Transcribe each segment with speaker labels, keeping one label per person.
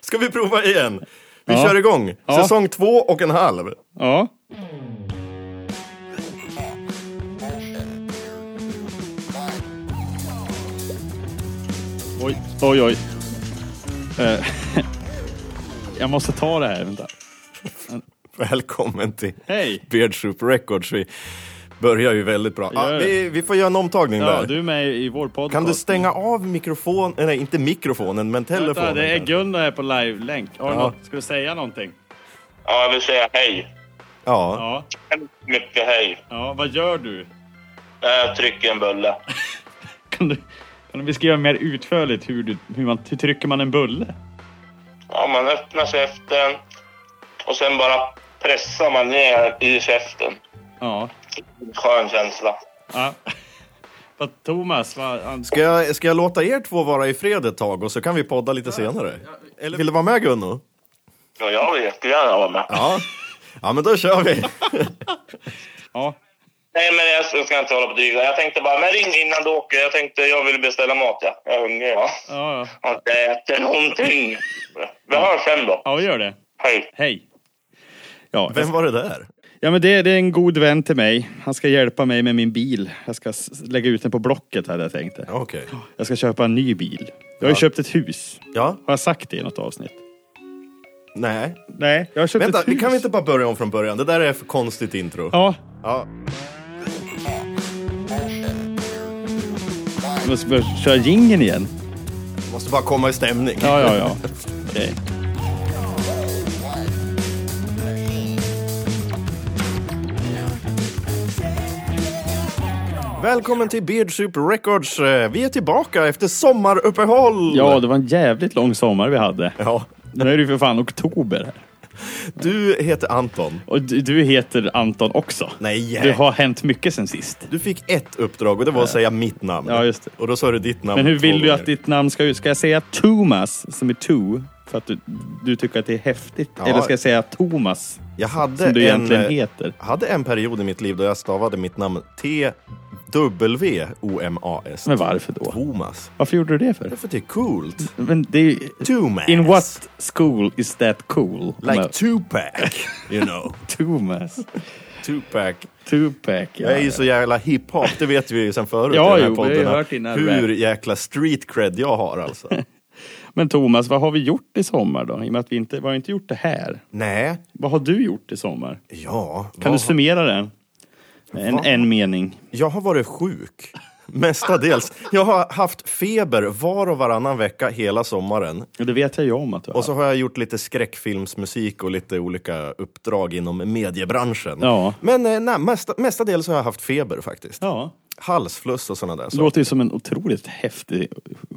Speaker 1: Ska vi prova igen? Vi
Speaker 2: Ja.
Speaker 1: kör igång.
Speaker 2: Ja.
Speaker 1: Säsong två och en halv.
Speaker 2: Ja. Oj, oj, oj. Eh, Jag måste ta det här, vänta.
Speaker 1: Välkommen till
Speaker 2: Hej!
Speaker 1: Beard Soup Records. Vi börjar ju väldigt bra.
Speaker 2: Gör
Speaker 1: Ah, vi, vi får göra en omtagning
Speaker 2: Ja,
Speaker 1: där.
Speaker 2: du är med i vår podcast.
Speaker 1: Kan du stänga av mikrofon, nej inte mikrofonen, men telefonen?
Speaker 2: Vänta, det är
Speaker 1: kanske?
Speaker 2: Gunnar här på live-länk. Har du
Speaker 1: Ja.
Speaker 2: något? Ska du säga någonting?
Speaker 3: Ja, jag vill säga hej.
Speaker 1: ja.
Speaker 2: Ja.
Speaker 3: Hemskt mycket hej.
Speaker 2: Ja, vad gör du?
Speaker 3: Jag trycker en bulle.
Speaker 2: Kan du, kan du beskriva mer utförligt hur, du, hur man hur trycker man en bulle?
Speaker 3: Ja, man öppnar käften och sen bara pressar man ner i käften.
Speaker 2: Ja.
Speaker 3: Skön känsla.
Speaker 2: ja. Vad Thomas, vad... han-
Speaker 1: Ska, jag, ska jag låta er två vara i fred ett tag och så kan vi podda lite senare? Eller... Vill du vara med Gunno?
Speaker 3: Ja, jag vill jättegärna vara med.
Speaker 1: Ja. ja, men då kör vi.
Speaker 2: Ja.
Speaker 3: Nej, men jag jag ska inte hålla på och dryga. Jag tänkte bara, men ring innan du åker. Jag tänkte, jag vill beställa mat. Ja. Jag är hungrig, ja.
Speaker 2: Ja, ja.
Speaker 3: Jag har inte ätit någonting. Vi hörs sen då.
Speaker 2: ja, vi gör det.
Speaker 3: Hej.
Speaker 2: Hej. Ja,
Speaker 1: Vem var det där?
Speaker 2: ja men det, det är en god vän till mig. Han ska hjälpa mig med min bil. Jag ska s- lägga ut den på Blocket hade jag tänkt. det.
Speaker 1: Okej.
Speaker 2: Jag ska köpa en ny bil. Jag har ju köpt ett hus.
Speaker 1: Ja,
Speaker 2: Har jag sagt det i något avsnitt?
Speaker 1: nej.
Speaker 2: Nej, jag har köpt
Speaker 1: Vänta,
Speaker 2: ett
Speaker 1: vi
Speaker 2: hus.
Speaker 1: kan vi inte bara börja om från början? Det där är för konstigt intro.
Speaker 2: Ja,
Speaker 1: Ja.
Speaker 2: jag måste börja köra jingeln igen.
Speaker 1: Måste bara komma i stämning.
Speaker 2: Ja, ja, ja. Okej.
Speaker 1: Välkommen till Beard Soup Records. Eh, Vi är tillbaka efter sommaruppehåll.
Speaker 2: Ja, det var en jävligt lång sommar vi hade.
Speaker 1: ja.
Speaker 2: Nu är det ju för fan oktober. här.
Speaker 1: Du heter Anton.
Speaker 2: Och du, du heter Anton också.
Speaker 1: Nej.
Speaker 2: Det har hänt mycket sen sist.
Speaker 1: Du fick ett uppdrag och det var att säga mitt namn.
Speaker 2: Ja, just det.
Speaker 1: Och då sa du ditt namn
Speaker 2: Men hur
Speaker 1: två
Speaker 2: vill du att
Speaker 1: gånger.
Speaker 2: ditt namn ska ut? Ska jag säga Thomas, som är to, för att du, du tycker att det är häftigt?
Speaker 1: Ja.
Speaker 2: Eller ska jag säga Thomas,
Speaker 1: Jag hade
Speaker 2: som du
Speaker 1: en,
Speaker 2: egentligen
Speaker 1: eh,
Speaker 2: heter?
Speaker 1: hade en period i mitt liv då jag stavade mitt namn T-W-O-M-A-S.
Speaker 2: Men varför då?
Speaker 1: Thomas.
Speaker 2: Varför gjorde du det för?
Speaker 1: Därför det är coolt.
Speaker 2: Men det är, ju-
Speaker 1: Thomas.
Speaker 2: in what school is that cool?
Speaker 1: Like
Speaker 2: Men-
Speaker 1: Tupac, you know.
Speaker 2: Thomas.
Speaker 1: Tupac.
Speaker 2: Tupac. Ja.
Speaker 1: Jag är ju så jävla hiphop, det vet vi ju sen förut
Speaker 2: Ja,
Speaker 1: i den här
Speaker 2: jo, vi har ju
Speaker 1: podden.
Speaker 2: hört dina
Speaker 1: Hur
Speaker 2: rap.
Speaker 1: jäkla street cred jag har alltså.
Speaker 2: Men Thomas, vad har vi gjort i sommar då? I och med att vi inte, vi har inte gjort det här.
Speaker 1: Nej,
Speaker 2: Vad har du gjort i sommar?
Speaker 1: ja.
Speaker 2: Kan
Speaker 1: vad-
Speaker 2: du summera den? En,
Speaker 1: Vad?
Speaker 2: en mening.
Speaker 1: Jag har varit sjuk. Mestadels. Jag har haft feber var och varannan vecka hela sommaren.
Speaker 2: Och Det vet jag ju om att du har.
Speaker 1: Och så har jag gjort lite skräckfilmsmusik och lite olika uppdrag inom mediebranschen.
Speaker 2: Ja.
Speaker 1: Men eh, nej, mesta, mestadels har jag haft feber faktiskt.
Speaker 2: Ja.
Speaker 1: Halsfluss och sådana där
Speaker 2: Det
Speaker 1: saker.
Speaker 2: låter ju som en otroligt häftig,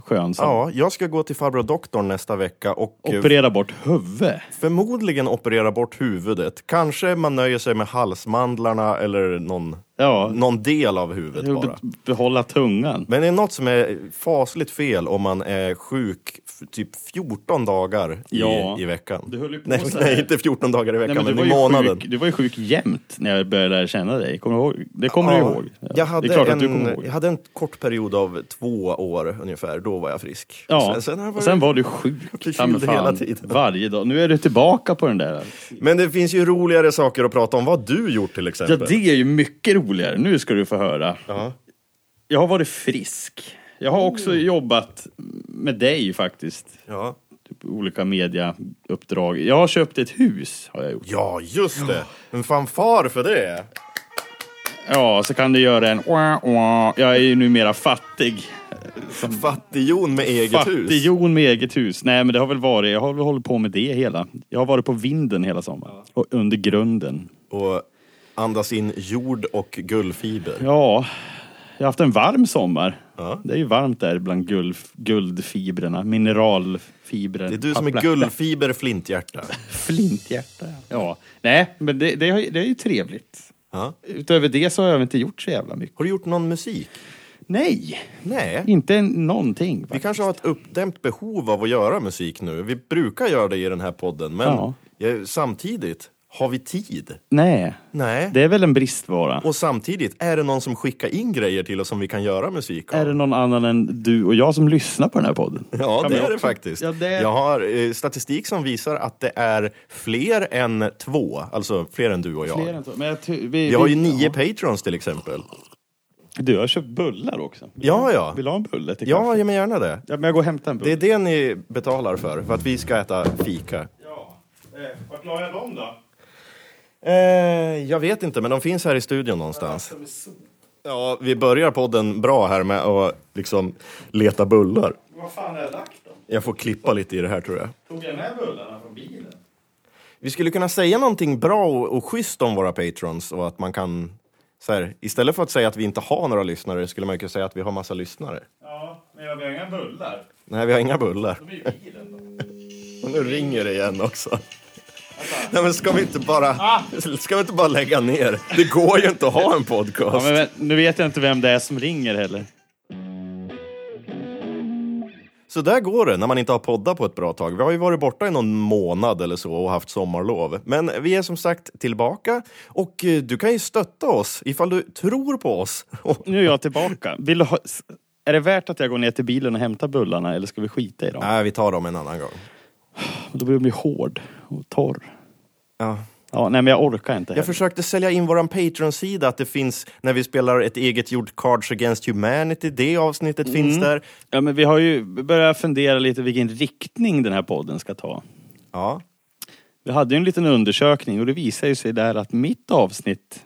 Speaker 2: skön sak.
Speaker 1: Ja, jag ska gå till farbror doktorn nästa vecka och eh,
Speaker 2: Operera bort huvudet.
Speaker 1: förmodligen operera bort huvudet. Kanske man nöjer sig med halsmandlarna eller någon,
Speaker 2: Ja.
Speaker 1: någon del av huvudet bara.
Speaker 2: Be- behålla tungan.
Speaker 1: Men det är något som är fasligt fel om man är sjuk f- typ 14 dagar i,
Speaker 2: Ja.
Speaker 1: i veckan.
Speaker 2: Du höll ju på
Speaker 1: nej,
Speaker 2: så här.
Speaker 1: nej, inte 14 dagar i veckan, men,
Speaker 2: du,
Speaker 1: i
Speaker 2: var
Speaker 1: månaden.
Speaker 2: ju sjuk, du var ju sjuk jämt när jag började lära känna dig. Kommer du ihåg? Det kommer du
Speaker 1: Ja,
Speaker 2: ihåg. Ja.
Speaker 1: Jag hade,
Speaker 2: det är klart
Speaker 1: en,
Speaker 2: att du kommer ihåg.
Speaker 1: jag hade en kort period av två år ungefär, då var jag frisk.
Speaker 2: Ja,
Speaker 1: Sen, sen har jag
Speaker 2: och
Speaker 1: varit...
Speaker 2: sen var du sjuk.
Speaker 1: förkyld
Speaker 2: ta mig fan,
Speaker 1: hela tiden.
Speaker 2: Varje dag. Nu är du tillbaka på den där.
Speaker 1: Men det finns ju roligare saker att prata om. Vad har du gjort till
Speaker 2: Ja,
Speaker 1: exempel?
Speaker 2: det är ju mycket roligare. Nu ska du få höra.
Speaker 1: Ja. Mm.
Speaker 2: Jag har varit frisk. Jag har också jobbat med dig faktiskt.
Speaker 1: Ja.
Speaker 2: Typ olika mediauppdrag. Jag har köpt ett hus. har jag gjort.
Speaker 1: ja, just det. En fanfar för det.
Speaker 2: Ja, så kan du göra en... Jag är ju numera fattig.
Speaker 1: Fattighjon med eget hus.
Speaker 2: Fattighjon med eget hus. Nej, men det har väl varit... Jag har väl hållit på med det hela. Jag har varit på vinden hela sommaren. Och under grunden.
Speaker 1: Och andas in jord och gullfiber.
Speaker 2: Ja, jag har haft en varm sommar.
Speaker 1: Ja.
Speaker 2: Det är ju varmt där bland guld, guldfibrerna, mineralfibrer.
Speaker 1: Det är du som är gullfiber flinthjärta.
Speaker 2: Flinthjärta. ja. Ja, nej, men det, det, har ju- det är ju trevligt.
Speaker 1: Ja.
Speaker 2: Utöver det så har jag inte gjort så jävla mycket.
Speaker 1: Har du gjort någon musik?
Speaker 2: Nej,
Speaker 1: Nej.
Speaker 2: inte en- någonting.
Speaker 1: Vi
Speaker 2: faktiskt.
Speaker 1: kanske har ett uppdämt behov av att göra musik nu. Vi brukar göra det i den här podden, men
Speaker 2: Ja.
Speaker 1: jag- samtidigt Har vi tid?
Speaker 2: Nej,
Speaker 1: Nej.
Speaker 2: det är väl en bristvara.
Speaker 1: Och samtidigt, är det någon som skickar in grejer till oss som vi kan göra musik av?
Speaker 2: Är det någon annan än du och jag som lyssnar på den här podden?
Speaker 1: Ja,
Speaker 2: Kan
Speaker 1: det
Speaker 2: vi
Speaker 1: är det
Speaker 2: också-
Speaker 1: faktiskt.
Speaker 2: Ja, det-
Speaker 1: Jag har eh, statistik som visar att det är fler än två, alltså fler än du och jag.
Speaker 2: Fler än så. Men jag ty- vi,
Speaker 1: Vi har
Speaker 2: vi-
Speaker 1: ju nio patrons till exempel.
Speaker 2: Du har köpt bullar också. Vill
Speaker 1: Ja,
Speaker 2: du-
Speaker 1: ja.
Speaker 2: Vill du ha en bulle till
Speaker 1: Ja,
Speaker 2: kaffe?
Speaker 1: ge mig gärna det.
Speaker 2: ja, men jag går och hämtar en
Speaker 1: Det
Speaker 2: bulle.
Speaker 1: är det ni betalar för, för att vi ska äta fika.
Speaker 2: Ja. Eh, vart la jag dem då?
Speaker 1: Eh, jag vet inte, men de finns här i studion någonstans. Ja, vi börjar podden bra här med att liksom leta bullar.
Speaker 2: Var fan har jag lagt dem?
Speaker 1: Jag får klippa lite i det här tror jag.
Speaker 2: Tog jag med bullarna från bilen?
Speaker 1: Vi skulle kunna säga någonting bra och, och schysst om våra patrons och att man kan... Så här, istället för att säga att vi inte har några lyssnare skulle man kunna säga att vi har massa lyssnare.
Speaker 2: Ja, men jag har inga bullar.
Speaker 1: Nej, vi har inga bullar.
Speaker 2: De är ju bilen då.
Speaker 1: Och nu ringer det igen också. Nej, men ska vi inte
Speaker 2: Ah!
Speaker 1: bara, ska vi inte bara lägga ner? Det går ju inte att ha en
Speaker 2: Ja,
Speaker 1: podcast.
Speaker 2: men, vä- nu vet jag inte vem det är som ringer heller.
Speaker 1: Så där går det när man inte har poddat på ett bra tag. Vi har ju varit borta i någon månad eller så och haft sommarlov. Men vi är som sagt tillbaka och eh, du kan ju stötta oss ifall du tror på oss. Och-
Speaker 2: Nu är jag tillbaka. Vill du ha... s- Är det värt att jag går ner till bilen och hämtar bullarna eller ska vi skita i dem?
Speaker 1: Nej, vi tar dem en annan gång.
Speaker 2: Då blir de bli hård och torr.
Speaker 1: Ja.
Speaker 2: Ja, nej men jag orkar inte
Speaker 1: Jag
Speaker 2: heller.
Speaker 1: försökte sälja in våran Patreon-sida, att det finns när vi spelar ett eget gjort Cards Against Humanity, det avsnittet finns där.
Speaker 2: Ja, men vi har ju börjat fundera lite vilken riktning den här podden ska ta.
Speaker 1: Ja.
Speaker 2: Vi hade ju en liten undersökning och det visar ju sig där att mitt avsnitt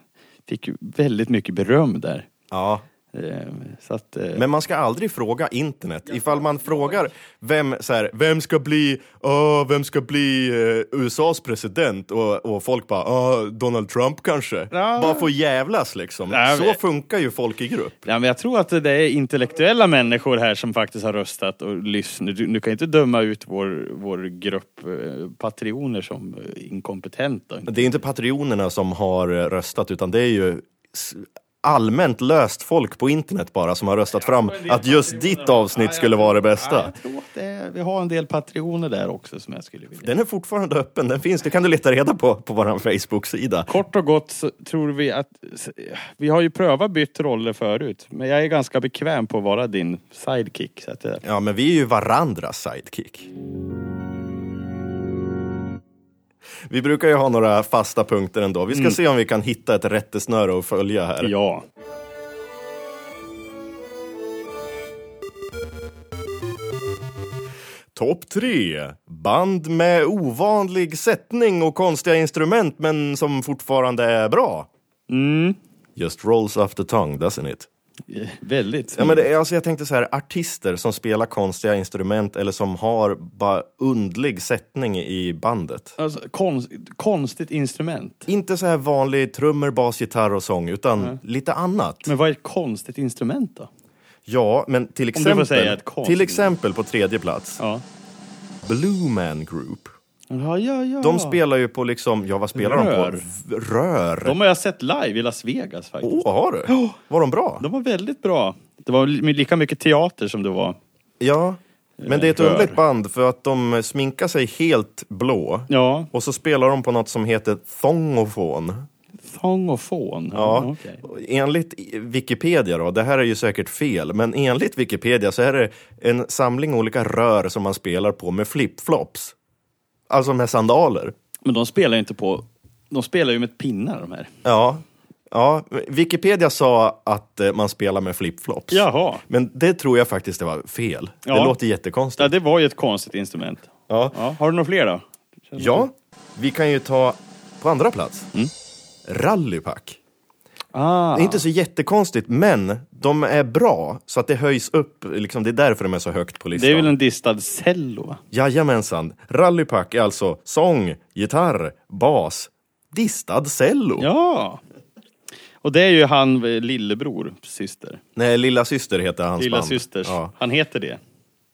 Speaker 2: fick ju väldigt mycket beröm där.
Speaker 1: ja.
Speaker 2: Eh, Så att, eh,
Speaker 1: Men man ska aldrig fråga internet. Ifall man frågar vem, så här, vem ska bli, åh, vem ska bli eh, USAs president och, och folk bara åh, Donald Trump kanske.
Speaker 2: Ja.
Speaker 1: Bara få jävlas liksom.
Speaker 2: Ja,
Speaker 1: Så
Speaker 2: vi-
Speaker 1: funkar ju folk i grupp.
Speaker 2: Ja, men jag tror att det är intellektuella människor här som faktiskt har röstat och lyssnar. Du, du kan inte döma ut vår, vår grupp eh, patrioner som eh, inkompetenta.
Speaker 1: Det är inte patrionerna som har eh, röstat utan det är ju s- allmänt löst folk på internet bara som har röstat fram att just ditt avsnitt skulle vara det
Speaker 2: Ja,
Speaker 1: bästa.
Speaker 2: jag tror att det är, vi har en del patrioner där också som jag skulle vilja...
Speaker 1: Den är fortfarande öppen, den finns. Det kan du leta reda på på vår Facebook-sida.
Speaker 2: Kort och gott så tror vi att... s- Vi har ju prövat bytt roller förut, men jag är ganska bekväm på att vara din sidekick. Så att det,
Speaker 1: Ja, men vi är ju varandras sidekick. Vi brukar ju ha några fasta punkter ändå. Vi ska se om vi kan hitta ett rättesnöre att följa här.
Speaker 2: Mm. ja.
Speaker 1: Topp tre! Band med ovanlig sättning och konstiga instrument men som fortfarande är bra.
Speaker 2: Mm.
Speaker 1: Just rolls off the tongue, doesn't it?
Speaker 2: Eh, Väldigt.
Speaker 1: Ja, men det, är- alltså jag tänkte så här, artister som spelar konstiga instrument eller som har bara undlig sättning i bandet.
Speaker 2: alltså, konst, konstigt instrument.
Speaker 1: Inte så här vanlig trummor, bas, gitarr och sång, utan lite annat.
Speaker 2: Men vad är ett konstigt instrument då?
Speaker 1: ja, men till
Speaker 2: får säga
Speaker 1: exempel,
Speaker 2: ett konst-
Speaker 1: till exempel på tredje plats,
Speaker 2: Ja.
Speaker 1: Blue Man Group.
Speaker 2: Ja, ja, ja.
Speaker 1: De spelar ju på liksom, ja vad spelar de
Speaker 2: Rör.
Speaker 1: på? V- Rör.
Speaker 2: De har jag sett live i Las Vegas faktiskt.
Speaker 1: Åh, har du? Var de bra?
Speaker 2: De var väldigt bra. Det var li- lika mycket teater som det var.
Speaker 1: Ja. Men det är ett
Speaker 2: Rör.
Speaker 1: underligt band för att de sminkar sig helt blå.
Speaker 2: Ja,
Speaker 1: Och så spelar de på något som heter thongofon.
Speaker 2: sång och fån.
Speaker 1: Ja,
Speaker 2: okej.
Speaker 1: enligt Wikipedia då, det här är ju säkert fel, men enligt Wikipedia så är det en samling olika rör som man spelar på med flipflops. Alltså med sandaler.
Speaker 2: Men de spelar ju inte på... De spelar ju med pinnar de här.
Speaker 1: Ja, ja Wikipedia sa att eh, man spelar med flipflops.
Speaker 2: Jaha.
Speaker 1: Men det tror jag faktiskt det var fel. Det
Speaker 2: Ja.
Speaker 1: låter
Speaker 2: Ja,
Speaker 1: jättekonstigt.
Speaker 2: det var ju ett konstigt instrument.
Speaker 1: Ja.
Speaker 2: Ja, har du några fler då?
Speaker 1: ja, vi kan ju ta på andra plats.
Speaker 2: Mm.
Speaker 1: Rallypack.
Speaker 2: Ah,
Speaker 1: Det är inte så jättekonstigt, men de är bra så att det höjs upp. Liksom, det är därför de är så högt på listan.
Speaker 2: det är väl en distad cello? va?
Speaker 1: Jajamensan. Rallypack är alltså sång, gitarr, bas, distad cello.
Speaker 2: Ja! Och det är ju han, eh, lillebror, syster.
Speaker 1: Nej, Lilla Syster heter hans
Speaker 2: Lilla
Speaker 1: band.
Speaker 2: systers.
Speaker 1: Ja.
Speaker 2: Han heter det.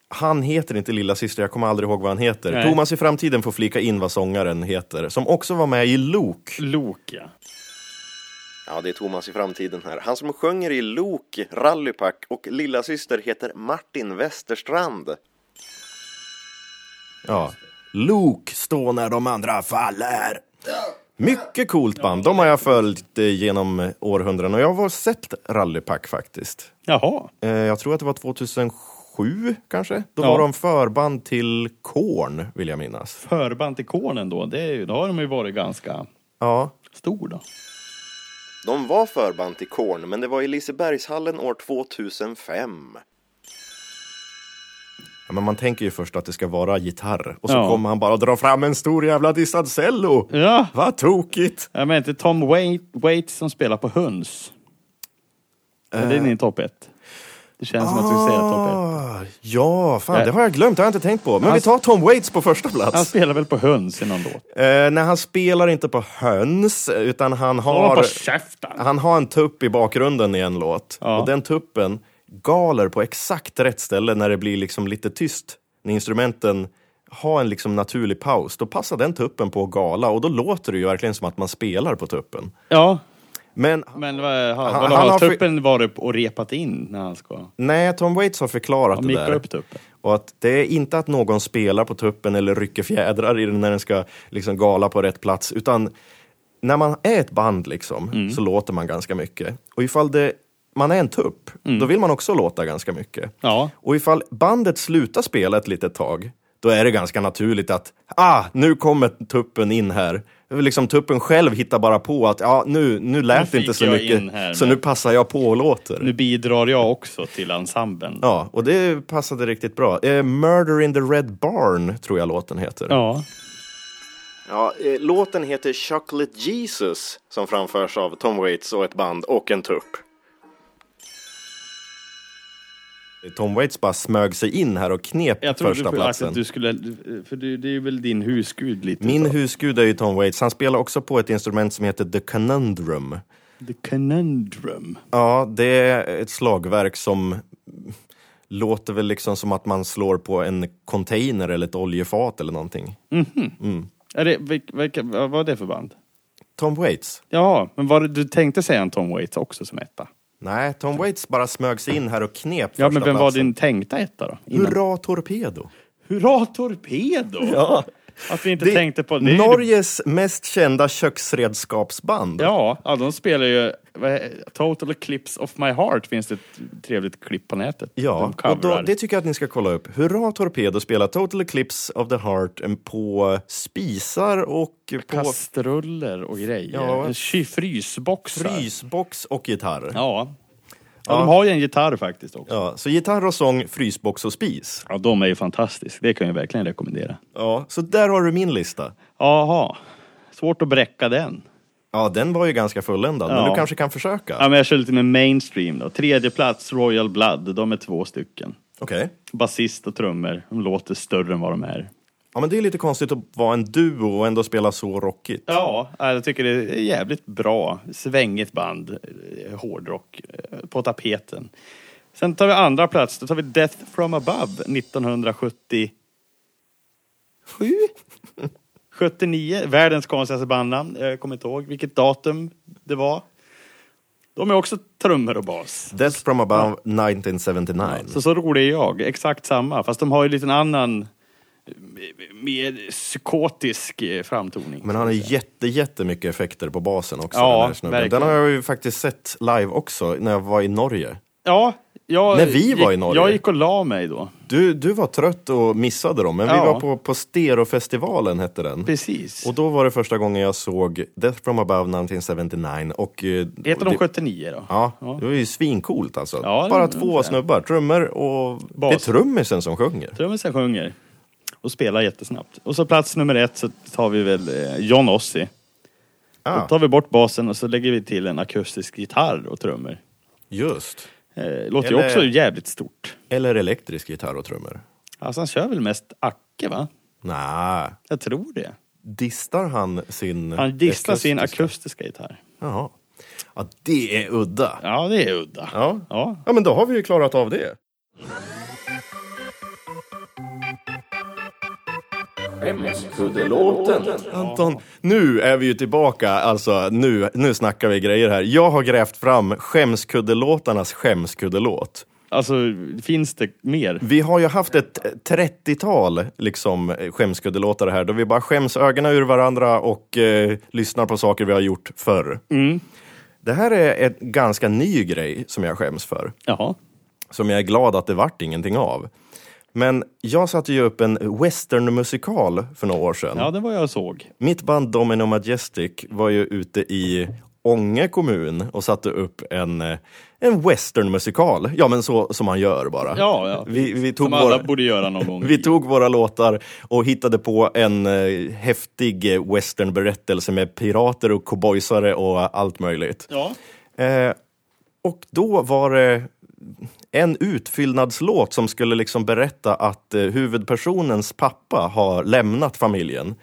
Speaker 1: Han heter inte Lilla Syster, jag kommer aldrig ihåg vad han heter.
Speaker 2: Nej.
Speaker 1: Thomas i framtiden får flika in vad sångaren heter, som också var med i Lok.
Speaker 2: Lok, ja.
Speaker 1: Ja, det är Thomas i framtiden här. Han som sjunger i Lok, Rallypack och Lilla Syster heter Martin Westerstrand. Ja. Lok står när de andra faller. Mycket coolt band. De har jag följt eh, genom århundraden och jag har sett Rallypack faktiskt.
Speaker 2: Jaha.
Speaker 1: Eh, Jag tror att det var 2007 kanske. Då
Speaker 2: Ja.
Speaker 1: var de förband till Korn vill jag minnas.
Speaker 2: Förband till Kornen då, det är, ju- då har de ju varit ganska
Speaker 1: Ja.
Speaker 2: stor då.
Speaker 1: De var förband till Korn men det var i Lisebergshallen år 2005. Ja, men man tänker ju först att det ska vara gitarr och så
Speaker 2: Ja.
Speaker 1: kommer han bara dra fram en stor jävla distancello.
Speaker 2: Ja,
Speaker 1: Vad tokigt!
Speaker 2: jag menar inte Tom Waite, Waite som spelar på Höns. Är det din topp ett? Det känns som att du säger topp ett.
Speaker 1: Eh. Ah, Ja, fan
Speaker 2: Nej.
Speaker 1: det
Speaker 2: Alltså-
Speaker 1: har jag glömt. Det har jag inte tänkt på. Men vi
Speaker 2: Han-
Speaker 1: tar Tom Waits på första plats.
Speaker 2: Han spelar väl på Höns i någon låt?
Speaker 1: eh, nej, han spelar inte på höns, utan han
Speaker 2: Håll på
Speaker 1: har,
Speaker 2: käften!
Speaker 1: han har en tupp i bakgrunden i en låt.
Speaker 2: Ja.
Speaker 1: Och den tuppen galer på exakt rätt ställe när det blir liksom lite tyst. När instrumenten har en liksom naturlig paus, då passar den tuppen på att gala och då låter det ju verkligen som att man spelar på tuppen.
Speaker 2: Ja,
Speaker 1: Men
Speaker 2: men vad, har,
Speaker 1: Han-
Speaker 2: vadå,
Speaker 1: han
Speaker 2: har
Speaker 1: har för-
Speaker 2: tuppen varit och repat in när han ska?
Speaker 1: nej, Tom Waits har förklarat
Speaker 2: Han
Speaker 1: det där.
Speaker 2: mickar upp tuppen.
Speaker 1: Och att det är inte att någon spelar på tuppen eller rycker fjädrar i den när den ska liksom gala på rätt plats, utan när man är ett band liksom,
Speaker 2: Mm.
Speaker 1: så låter man ganska mycket. Och ifall det, man är en tupp, då vill man också låta ganska mycket.
Speaker 2: Mm. Ja.
Speaker 1: Och ifall bandet slutar spela ett litet tag, då är det ganska naturligt att ah, nu kommer tuppen in här. Liksom tuppen själv hittar bara på att ja, nu, nu lät det
Speaker 2: fick
Speaker 1: inte så
Speaker 2: jag
Speaker 1: mycket,
Speaker 2: in här
Speaker 1: så
Speaker 2: med."
Speaker 1: nu passar jag på och låter.
Speaker 2: Nu bidrar jag också till ensemblen.
Speaker 1: Ja, och det passade riktigt bra. Eh, Murder in the Red Barn tror jag låten heter.
Speaker 2: Ja.
Speaker 1: Ja, eh, låten heter Chocolate Jesus som framförs av Tom Waits och ett band och en tupp. Tom Waits bara smög sig in här och knep
Speaker 2: Jag trodde
Speaker 1: första
Speaker 2: för-
Speaker 1: platsen.
Speaker 2: att du skulle... För det, det är väl din husgud lite?
Speaker 1: Min
Speaker 2: så.
Speaker 1: husgud är ju Tom Waits. Han spelar också på ett instrument som heter The Conundrum.
Speaker 2: The Conundrum.
Speaker 1: Ja, det är ett slagverk som låter väl liksom som att man slår på en container eller ett oljefat eller någonting.
Speaker 2: Är det, vilk, vilka, vad var det för band?
Speaker 1: Tom Waits?
Speaker 2: Ja, men var det, du tänkte säga en Tom Waits också som etta?
Speaker 1: Nej, Tom Waits bara smög sig in här och knep
Speaker 2: Ja, men
Speaker 1: första
Speaker 2: vem var
Speaker 1: platsen.
Speaker 2: din tänkta etta då? Innan?
Speaker 1: Hurra Torpedo!
Speaker 2: Hurra Torpedo!
Speaker 1: Ja.
Speaker 2: Att vi inte tänkte på... Det är ju-
Speaker 1: Norges mest kända köksredskapsband.
Speaker 2: Ja, ja, de spelar ju... vad är- Total Eclipse of My Heart finns det ett trevligt klipp på nätet.
Speaker 1: Ja,
Speaker 2: de
Speaker 1: och då,
Speaker 2: coverar.
Speaker 1: det tycker jag att ni ska kolla upp. Hurra Torpedo spelar Total Eclipse of the Heart eh, på spisar och på
Speaker 2: Kastruller och grejer.
Speaker 1: Ja.
Speaker 2: Ja. Frysboxar.
Speaker 1: frysbox och gitarr. Ja.
Speaker 2: Ja. ja, de har ju en gitarr faktiskt också.
Speaker 1: så gitarr och sång, frysbox och spis.
Speaker 2: Ja, de är ju fantastiska. Det kan jag verkligen rekommendera.
Speaker 1: Ja, så där har du min lista.
Speaker 2: Jaha, svårt att bräcka den.
Speaker 1: Ja, den var ju ganska fulländad, men
Speaker 2: Ja.
Speaker 1: du kanske kan försöka?
Speaker 2: Ja, men jag kör lite med mainstream då. Tredje plats Royal Blood, de är två stycken.
Speaker 1: Okej.
Speaker 2: Basist och trummor, de låter större än vad de är.
Speaker 1: Ja, men det är lite konstigt att vara en duo och ändå spela så rockigt.
Speaker 2: Ja, äh, jag tycker det är jävligt bra. Svängigt band, eh, hårdrock eh, på tapeten. Sen tar vi andra plats, då tar vi Death from above 1977. 79, världens konstigaste bandnamn. Jag kommer inte ihåg vilket datum det var. De är också trummor och bas.
Speaker 1: Death from above 1979.
Speaker 2: Så så rolig är jag, exakt samma. Fast de har ju lite en annan, eh, mer psykotisk eh, framtoning.
Speaker 1: Men han har jätte, jättemycket effekter på basen också.
Speaker 2: Ja,
Speaker 1: den, här snubben. den
Speaker 2: verkligen.
Speaker 1: har jag ju faktiskt sett live också när jag var i Norge.
Speaker 2: Ja, jag,
Speaker 1: När vi var i
Speaker 2: gick-
Speaker 1: Norge.
Speaker 2: Jag gick och la mig då.
Speaker 1: Du, du var trött och missade dem, men vi
Speaker 2: Ja.
Speaker 1: var på, på Sterofestivalen hette den.
Speaker 2: Precis.
Speaker 1: Och då var det första gången jag såg Death from above 1979 och... eh,
Speaker 2: Heter de
Speaker 1: det-
Speaker 2: 79 då?
Speaker 1: Ja, det var ju svincoolt alltså.
Speaker 2: Ja, det
Speaker 1: Bara
Speaker 2: var-
Speaker 1: två snubbar, trummor och...
Speaker 2: Bas.
Speaker 1: Det är trummisen som sjunger.
Speaker 2: Trummisen sjunger och spelar jättesnabbt. Och så plats nummer ett så tar vi väl eh, John Ossie. Då
Speaker 1: Ah,
Speaker 2: tar vi bort basen och så lägger vi till en akustisk gitarr och trummor.
Speaker 1: just.
Speaker 2: Eh, låter
Speaker 1: Eller-
Speaker 2: ju också jävligt stort.
Speaker 1: Eller elektrisk gitarr och trummor.
Speaker 2: Alltså han kör väl mest Acke va?
Speaker 1: Nej,
Speaker 2: Jag tror det.
Speaker 1: distar han sin...
Speaker 2: Han disslar sin
Speaker 1: akustiska-
Speaker 2: akustiska gitarr.
Speaker 1: Jaha. Ja, det är udda.
Speaker 2: Ja, det är udda.
Speaker 1: Ja.
Speaker 2: ja.
Speaker 1: ja, men då har vi ju klarat av det. Anton, nu är vi ju tillbaka. Alltså, nu, nu snackar vi grejer här. Jag har grävt fram skämskuddelåtarnas skämskuddelåt.
Speaker 2: Alltså, finns det mer?
Speaker 1: Vi har ju haft ett 30-tal liksom, skämskuddelåtar här då vi bara skäms ögonen ur varandra och eh, lyssnar på saker vi har gjort förr.
Speaker 2: Mm.
Speaker 1: Det här är en ganska ny grej som jag skäms för,
Speaker 2: Jaha.
Speaker 1: som jag är glad att det vart ingenting av. Men jag satte ju upp en westernmusikal för några år sedan.
Speaker 2: Ja, det var jag såg.
Speaker 1: Mitt band Domino Majestic var ju ute i Ånge kommun och satte upp en, eh, en westernmusikal. Ja, men så som man gör bara.
Speaker 2: Ja, ja.
Speaker 1: Vi, vi, tog
Speaker 2: Som alla
Speaker 1: våra,
Speaker 2: borde göra någon gång.
Speaker 1: vi tog våra låtar och hittade på en eh, häftig eh, westernberättelse med pirater och cowboysare och allt möjligt.
Speaker 2: Ja.
Speaker 1: Eh, och då var det en utfyllnadslåt som skulle liksom berätta att eh, huvudpersonens pappa har lämnat familjen.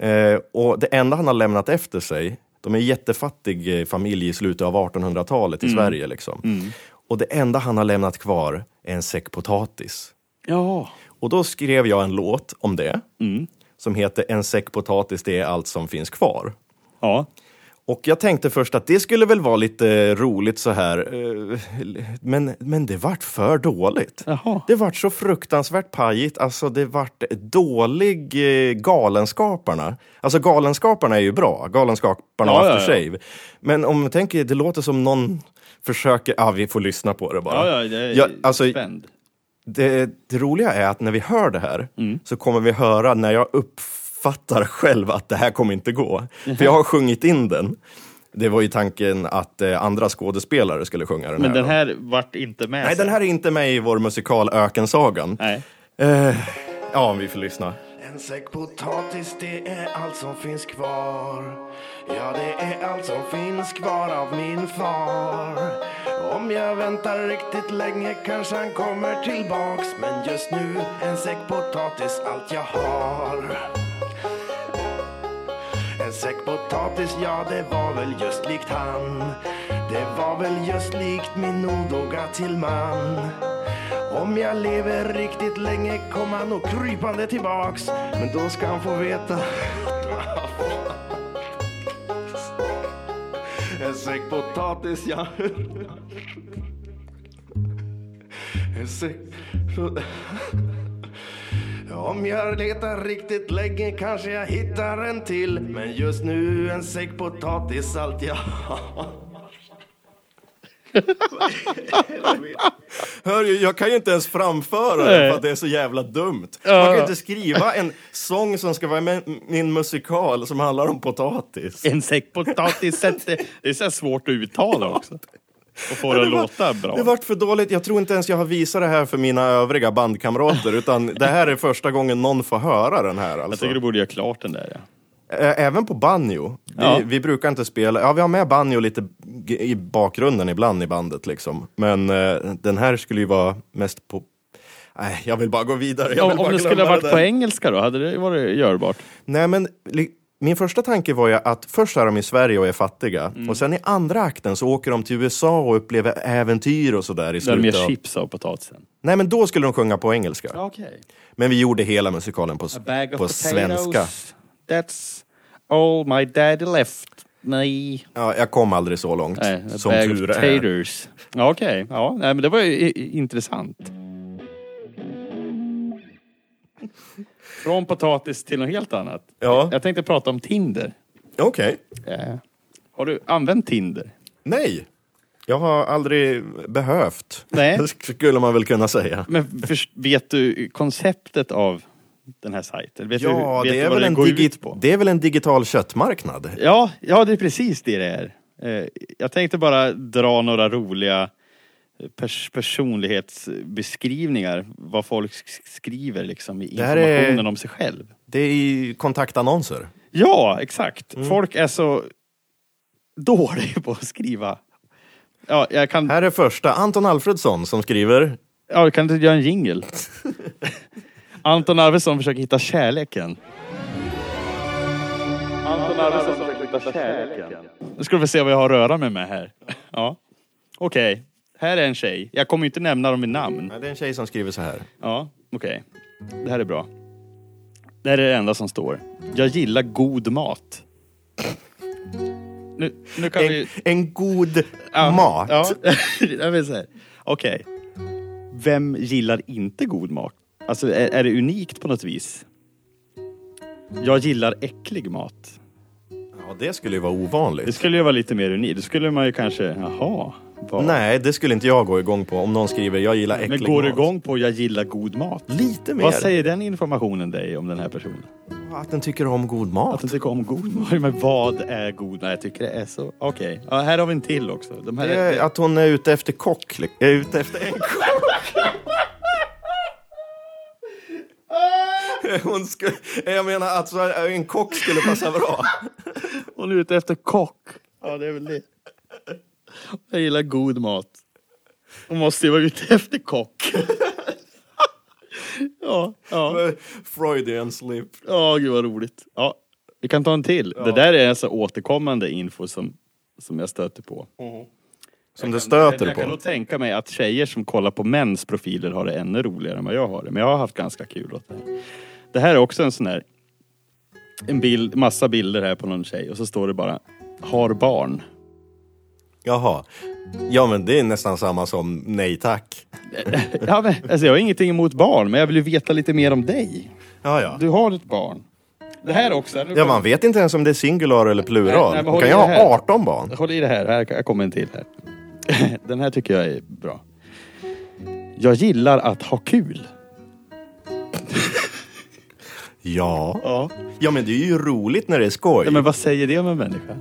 Speaker 1: Eh, och det enda han har lämnat efter sig, de är en jättefattig eh, familj i slutet av 1800-talet i Sverige. Liksom. Och det enda han har lämnat kvar är en säck potatis.
Speaker 2: Ja.
Speaker 1: Och då skrev jag en låt om det,
Speaker 2: Mm.
Speaker 1: som heter En säck potatis, det är allt som finns kvar.
Speaker 2: Ja.
Speaker 1: Och jag tänkte först att det skulle väl vara lite eh, roligt så här. eh, Men, men det vart för dåligt.
Speaker 2: Jaha.
Speaker 1: Det vart så fruktansvärt pajigt. Alltså det vart dålig eh, Galenskaparna. Alltså Galenskaparna är ju bra. Galenskaparna och
Speaker 2: Ja, ja,
Speaker 1: After
Speaker 2: ja.
Speaker 1: Shave. Men om man tänker, det låter som någon försöker... Ja, ah, vi får lyssna på det bara.
Speaker 2: Ja, ja, jag är
Speaker 1: Ja, alltså,
Speaker 2: spänd.
Speaker 1: det, det roliga är att när vi hör det här
Speaker 2: Mm.
Speaker 1: så kommer vi höra när jag uppfattar själv att det här kommer inte gå.
Speaker 2: Mm-hmm.
Speaker 1: För jag har sjungit in den. Det var ju tanken att eh, andra skådespelare skulle sjunga den
Speaker 2: Men
Speaker 1: här.
Speaker 2: den
Speaker 1: då.
Speaker 2: här vart inte med
Speaker 1: Nej,
Speaker 2: sen.
Speaker 1: den här är inte med i vår musikal Ökensagan.
Speaker 2: Nej.
Speaker 1: Eh, ja, om vi får lyssna.
Speaker 4: En säck potatis, det är allt som finns kvar. Ja, det är allt som finns kvar av min far. Om jag väntar riktigt länge kanske han kommer tillbaks. Men just nu, en säck potatis, allt jag har. En säck potatis, ja det var väl just likt han Det var väl just likt min odåga till man Om jag lever riktigt länge kommer han nog krypande tillbaks Men då ska han få veta En säck potatis, ja En säck om jag letar riktigt länge kanske jag hittar en till Men just nu en säck potatis allt jag har
Speaker 1: Hör ju, jag kan ju inte ens framföra
Speaker 2: Nej.
Speaker 1: det för att det är så jävla dumt. Man kan ju inte skriva en sång som ska vara med i min musikal som handlar om potatis.
Speaker 2: En säck potatis sätter... Det är så här svårt att uttala också. Och få det att
Speaker 1: var-
Speaker 2: låta bra.
Speaker 1: Det vart för dåligt. Jag tror inte ens jag har visat det här för mina övriga bandkamrater, utan det här är första gången någon får höra den här.
Speaker 2: Jag
Speaker 1: Alltså.
Speaker 2: tycker du borde göra klart den där. Ja.
Speaker 1: Ä- Även på banjo. Vi,
Speaker 2: Ja.
Speaker 1: vi brukar inte spela, ja vi har med banjo lite g- i bakgrunden ibland i bandet liksom. Men eh, den här skulle ju vara mest på Nej, jag vill bara gå vidare. Jag vill
Speaker 2: Om,
Speaker 1: bara
Speaker 2: om det skulle
Speaker 1: glömma
Speaker 2: ha varit
Speaker 1: där.
Speaker 2: på engelska då, hade det varit görbart?
Speaker 1: Nej, men li- min första tanke var ju att först är de i Sverige och är fattiga
Speaker 2: Mm.
Speaker 1: och sen i andra akten så åker de till USA och upplever äventyr och sådär i
Speaker 2: Där mer
Speaker 1: slutet. av-
Speaker 2: chips av potatisen.
Speaker 1: Nej, men då skulle de sjunga på engelska.
Speaker 2: Okej.
Speaker 1: Men vi gjorde hela musikalen på, s- på svenska.
Speaker 2: That's all my daddy left me.
Speaker 1: Ja, jag kom aldrig så långt,
Speaker 2: Nej, a
Speaker 1: som
Speaker 2: bag of
Speaker 1: tur är.
Speaker 2: taters. Ja, Okej, ja, nej, men det var ju i- i- intressant. Från potatis till något helt annat.
Speaker 1: Ja.
Speaker 2: Jag tänkte prata om Tinder.
Speaker 1: Okej.
Speaker 2: Eh, Har du använt Tinder?
Speaker 1: Nej, jag har aldrig behövt.
Speaker 2: Nej.
Speaker 1: skulle man väl kunna säga.
Speaker 2: Men först- vet du konceptet av den här sajten? Vet
Speaker 1: Ja,
Speaker 2: du, vet
Speaker 1: det
Speaker 2: du
Speaker 1: är,
Speaker 2: vad
Speaker 1: väl
Speaker 2: den
Speaker 1: en
Speaker 2: går
Speaker 1: digi-
Speaker 2: ut på?
Speaker 1: det är väl en digital köttmarknad?
Speaker 2: Ja, ja, det är precis det det är. Eh, Jag tänkte bara dra några roliga eh, pers personlighetsbeskrivningar. Vad folk sk- skriver liksom i
Speaker 1: här är-
Speaker 2: informationen om sig själv.
Speaker 1: Det är i kontaktannonser.
Speaker 2: Ja, exakt.
Speaker 1: Mm.
Speaker 2: Folk är så dåliga på att skriva. Ja, jag kan,
Speaker 1: Här är första, Anton Alfredsson som skriver
Speaker 2: ja, jag kan inte göra en jingel. Anton Arvidsson försöker hitta kärleken. Anton Arvidsson försöker hitta kärleken. Nu ska du få se vad jag har att röra mig med här. Ja. Okej, här är en tjej. Jag kommer ju inte nämna dem i namn.
Speaker 1: Nej, Det är en tjej som skriver så här.
Speaker 2: Ja, okej. Det här är bra. Det här är det enda som står. Jag gillar god mat. Nu, nu kan
Speaker 1: En,
Speaker 2: vi...
Speaker 1: en god
Speaker 2: Ja,
Speaker 1: mat.
Speaker 2: Ja, jag vill säga. Okej. vem gillar inte god mat? Alltså är, är det unikt på något vis? Jag gillar äcklig mat.
Speaker 1: Ja, det skulle ju vara
Speaker 2: Det
Speaker 1: ovanligt.
Speaker 2: skulle ju vara lite mer unikt. Då skulle man ju kanske, jaha. Vad?
Speaker 1: Nej, det skulle inte jag gå igång på om någon skriver jag gillar äcklig
Speaker 2: Men går du
Speaker 1: mat.
Speaker 2: igång på jag gillar god mat?
Speaker 1: Lite mer.
Speaker 2: Vad säger den informationen dig om den här personen?
Speaker 1: Att den tycker om god
Speaker 2: Att
Speaker 1: mat.
Speaker 2: den tycker om god mat? Men vad är god mat? Jag tycker det är så... Okej, ja, här har vi en till också. De här
Speaker 1: Det är Att hon är ute efter kock. li- Jag är ute efter en kock. Hon skulle, jag menar att så här, en kock skulle passa bra.
Speaker 2: Hon är ute efter kock. Ja, det är väl det. Jag gillar god mat. Hon måste ju vara ute efter kock. ja, ja.
Speaker 1: Freudian slip.
Speaker 2: Ja, gud vad roligt. Ja, vi kan ta en till. Det där är alltså återkommande info som, som jag stöter på.
Speaker 1: Som det
Speaker 2: Jag,
Speaker 1: stöter
Speaker 2: jag kan
Speaker 1: på.
Speaker 2: nog tänka mig att tjejer som kollar på mäns profiler har det ännu roligare än vad jag har det. Men jag har haft ganska kul åt det. här. Det här är också en sån här... En bild, massa bilder här på någon tjej och så står det bara Har barn.
Speaker 1: Jaha. Ja, men det är nästan samma som nej tack.
Speaker 2: Ja, men, alltså, jag har ingenting emot barn, men jag vill ju veta lite mer om dig.
Speaker 1: Ja, ja.
Speaker 2: Du har ett barn. Det här också. här-
Speaker 1: Ja, man vet inte ens om det är singular eller
Speaker 2: Nej,
Speaker 1: plural.
Speaker 2: nej, men
Speaker 1: Hon
Speaker 2: håll
Speaker 1: kan
Speaker 2: i
Speaker 1: ju
Speaker 2: det här.
Speaker 1: ha 18 barn.
Speaker 2: Håll i det här, här här kommer en till här. Den här tycker jag är bra. Jag gillar att ha kul.
Speaker 1: Ja.
Speaker 2: Ja.
Speaker 1: Ja, men det är ju roligt när det är skoj.
Speaker 2: Nej, men vad säger det om en människa?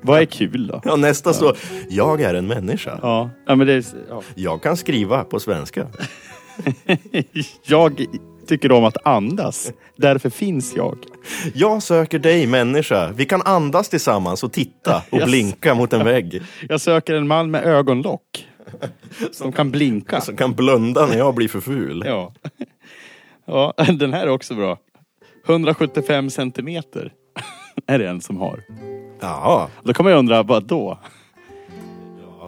Speaker 2: Vad är kul då?
Speaker 1: Ja, nästa så. Jag är en människa.
Speaker 2: Ja, ja men det är, ja.
Speaker 1: Jag kan skriva på svenska.
Speaker 2: Jag tycker om att andas. Därför finns jag.
Speaker 1: Jag söker dig människa. Vi kan andas tillsammans och titta och
Speaker 2: Yes.
Speaker 1: blinka mot en vägg.
Speaker 2: Jag söker en man med ögonlock. Som kan blinka.
Speaker 1: Som kan blunda när jag blir för ful.
Speaker 2: Ja. ja, den här är också bra. 175 centimeter är det en som har.
Speaker 1: Ja,
Speaker 2: Då kan man ju undra, vad då?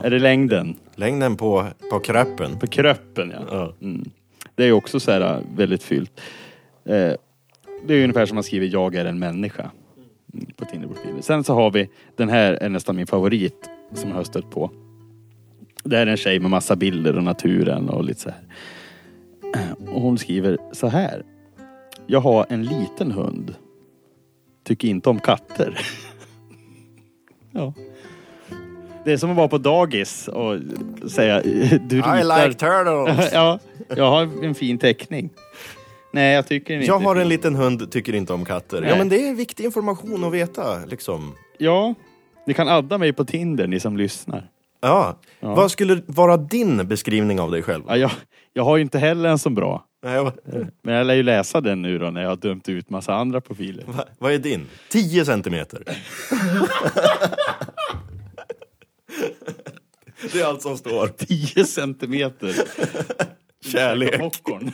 Speaker 2: Är det längden?
Speaker 1: längden på, på kräppen.
Speaker 2: På kröppen ja.
Speaker 1: Ja.
Speaker 2: Mm. Det är ju också så här äh, väldigt fyllt. Eh, Det är ju ungefär som man skriver jag är en människa. Mm, På Tinderprofilen. Sen så har vi, den här är nästan min favorit som jag har stött på. Det här är en tjej med massa bilder och naturen och lite så här. Eh, Och hon skriver så här. Jag har en liten hund. Tycker inte om katter. ja. Det är som att vara på dagis och säga du
Speaker 1: I
Speaker 2: ritar.
Speaker 1: like turtles.
Speaker 2: ja, jag har en fin teckning. Nej, jag tycker inte.
Speaker 1: Jag har
Speaker 2: det.
Speaker 1: en liten hund, tycker inte om katter. Ja,
Speaker 2: Nej.
Speaker 1: men det är viktig information att veta, liksom.
Speaker 2: Ja, ni kan adda mig på Tinder, ni som lyssnar.
Speaker 1: Ja. Vad skulle vara din beskrivning av dig själv?
Speaker 2: Ja, jag, jag har ju inte heller en så bra.
Speaker 1: Nej, vad,
Speaker 2: Men jag lär ju läsa den nu då när jag har dömt ut massa andra profiler.
Speaker 1: va- vad är din? 10 centimeter. Det är allt som står.
Speaker 2: 10 centimeter.
Speaker 1: Kärlek.
Speaker 2: Popcorn.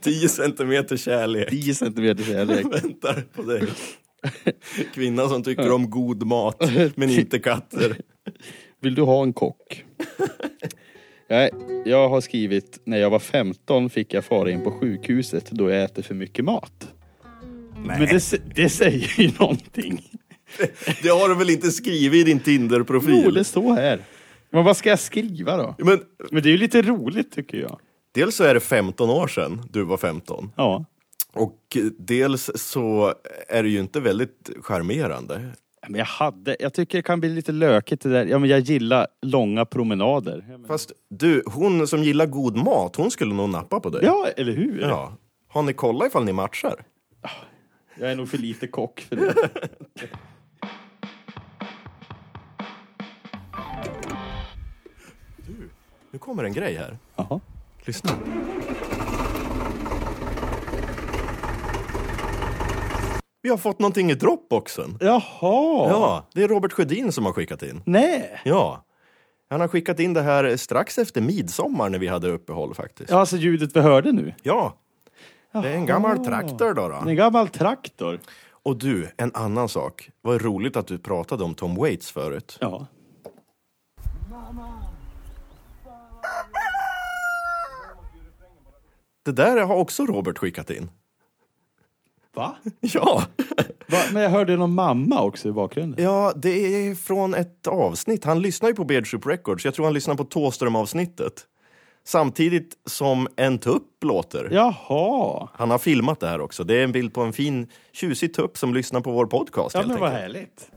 Speaker 1: 10 centimeter kärlek.
Speaker 2: 10 centimeter kärlek.
Speaker 1: Väntar på dig. Kvinna som tycker om god mat, men inte katter.
Speaker 2: Vill du ha en kock? Nej, jag har skrivit när jag var 15 fick jag fara in på sjukhuset då jag äter för mycket mat. Nej. Men det, sä- det säger ju någonting.
Speaker 1: Det har du väl inte skrivit i din
Speaker 2: Jo,
Speaker 1: Tinder-profil?
Speaker 2: det står här. Men vad ska jag skriva då?
Speaker 1: Men
Speaker 2: Men det är ju lite roligt tycker jag.
Speaker 1: dels så är det 15 år sedan du var 15.
Speaker 2: Ja.
Speaker 1: Och dels så är det ju inte väldigt charmerande.
Speaker 2: Men jag hade, jag tycker det kan bli lite lökigt det där. Ja men jag gillar långa promenader.
Speaker 1: Fast du, hon som gillar god mat, hon skulle nog nappa på dig.
Speaker 2: Ja, eller hur?
Speaker 1: ja. Har ni kollat ifall ni matchar?
Speaker 2: Jag är nog för lite kock för det.
Speaker 1: Nu kommer en grej här.
Speaker 2: Jaha.
Speaker 1: Lyssna. Vi har fått någonting i Dropboxen.
Speaker 2: Jaha!
Speaker 1: Ja, det är Robert Sjödin som har skickat in.
Speaker 2: Nej!
Speaker 1: Ja. Han har skickat in det här strax efter midsommar när vi hade uppehåll faktiskt.
Speaker 2: Ja, alltså ljudet vi hörde nu.
Speaker 1: Ja. Det är en gammal traktor då.
Speaker 2: En
Speaker 1: då.
Speaker 2: gammal traktor.
Speaker 1: Och du, en annan sak. Vad roligt att du pratade om Tom Waits förut.
Speaker 2: Ja.
Speaker 1: Det där har också Robert skickat in.
Speaker 2: Va?
Speaker 1: Ja.
Speaker 2: Va? Men jag hörde någon mamma också i bakgrunden.
Speaker 1: Ja, det är från ett avsnitt. Han lyssnar ju på Beardship Records. Jag tror han lyssnar på Thåström-avsnittet. samtidigt som en tupp låter.
Speaker 2: Jaha!
Speaker 1: Han har filmat det här också. Det är en bild på en fin tjusig tupp som lyssnar på vår podcast.
Speaker 2: Ja
Speaker 1: helt
Speaker 2: men vad
Speaker 1: enkelt.
Speaker 2: härligt.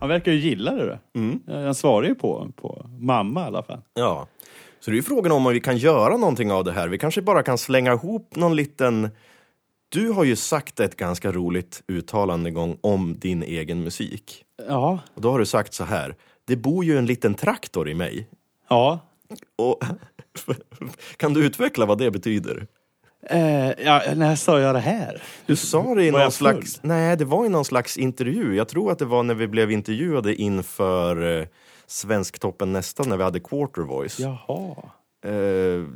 Speaker 2: Han verkar ju gilla det. där. Ja, Han svarar ju på, på mamma i alla fall.
Speaker 1: Ja. Så det är ju frågan om vi kan göra någonting av det här. Vi kanske bara kan slänga ihop någon liten... Du har ju sagt ett ganska roligt uttalande en gång om din egen musik.
Speaker 2: Ja.
Speaker 1: Och då har du sagt så här. Det bor ju en liten traktor i mig.
Speaker 2: Ja.
Speaker 1: Och kan du utveckla vad det betyder?
Speaker 2: Eh, ja när sa jag det här?
Speaker 1: Du sa det i
Speaker 2: Var
Speaker 1: någon
Speaker 2: jag full?
Speaker 1: slags... Nej, det var i någon slags intervju. Jag tror att det var när vi blev intervjuade inför eh, Svensktoppen nästa, när vi hade Quarter Voice.
Speaker 2: Jaha.
Speaker 1: Eh,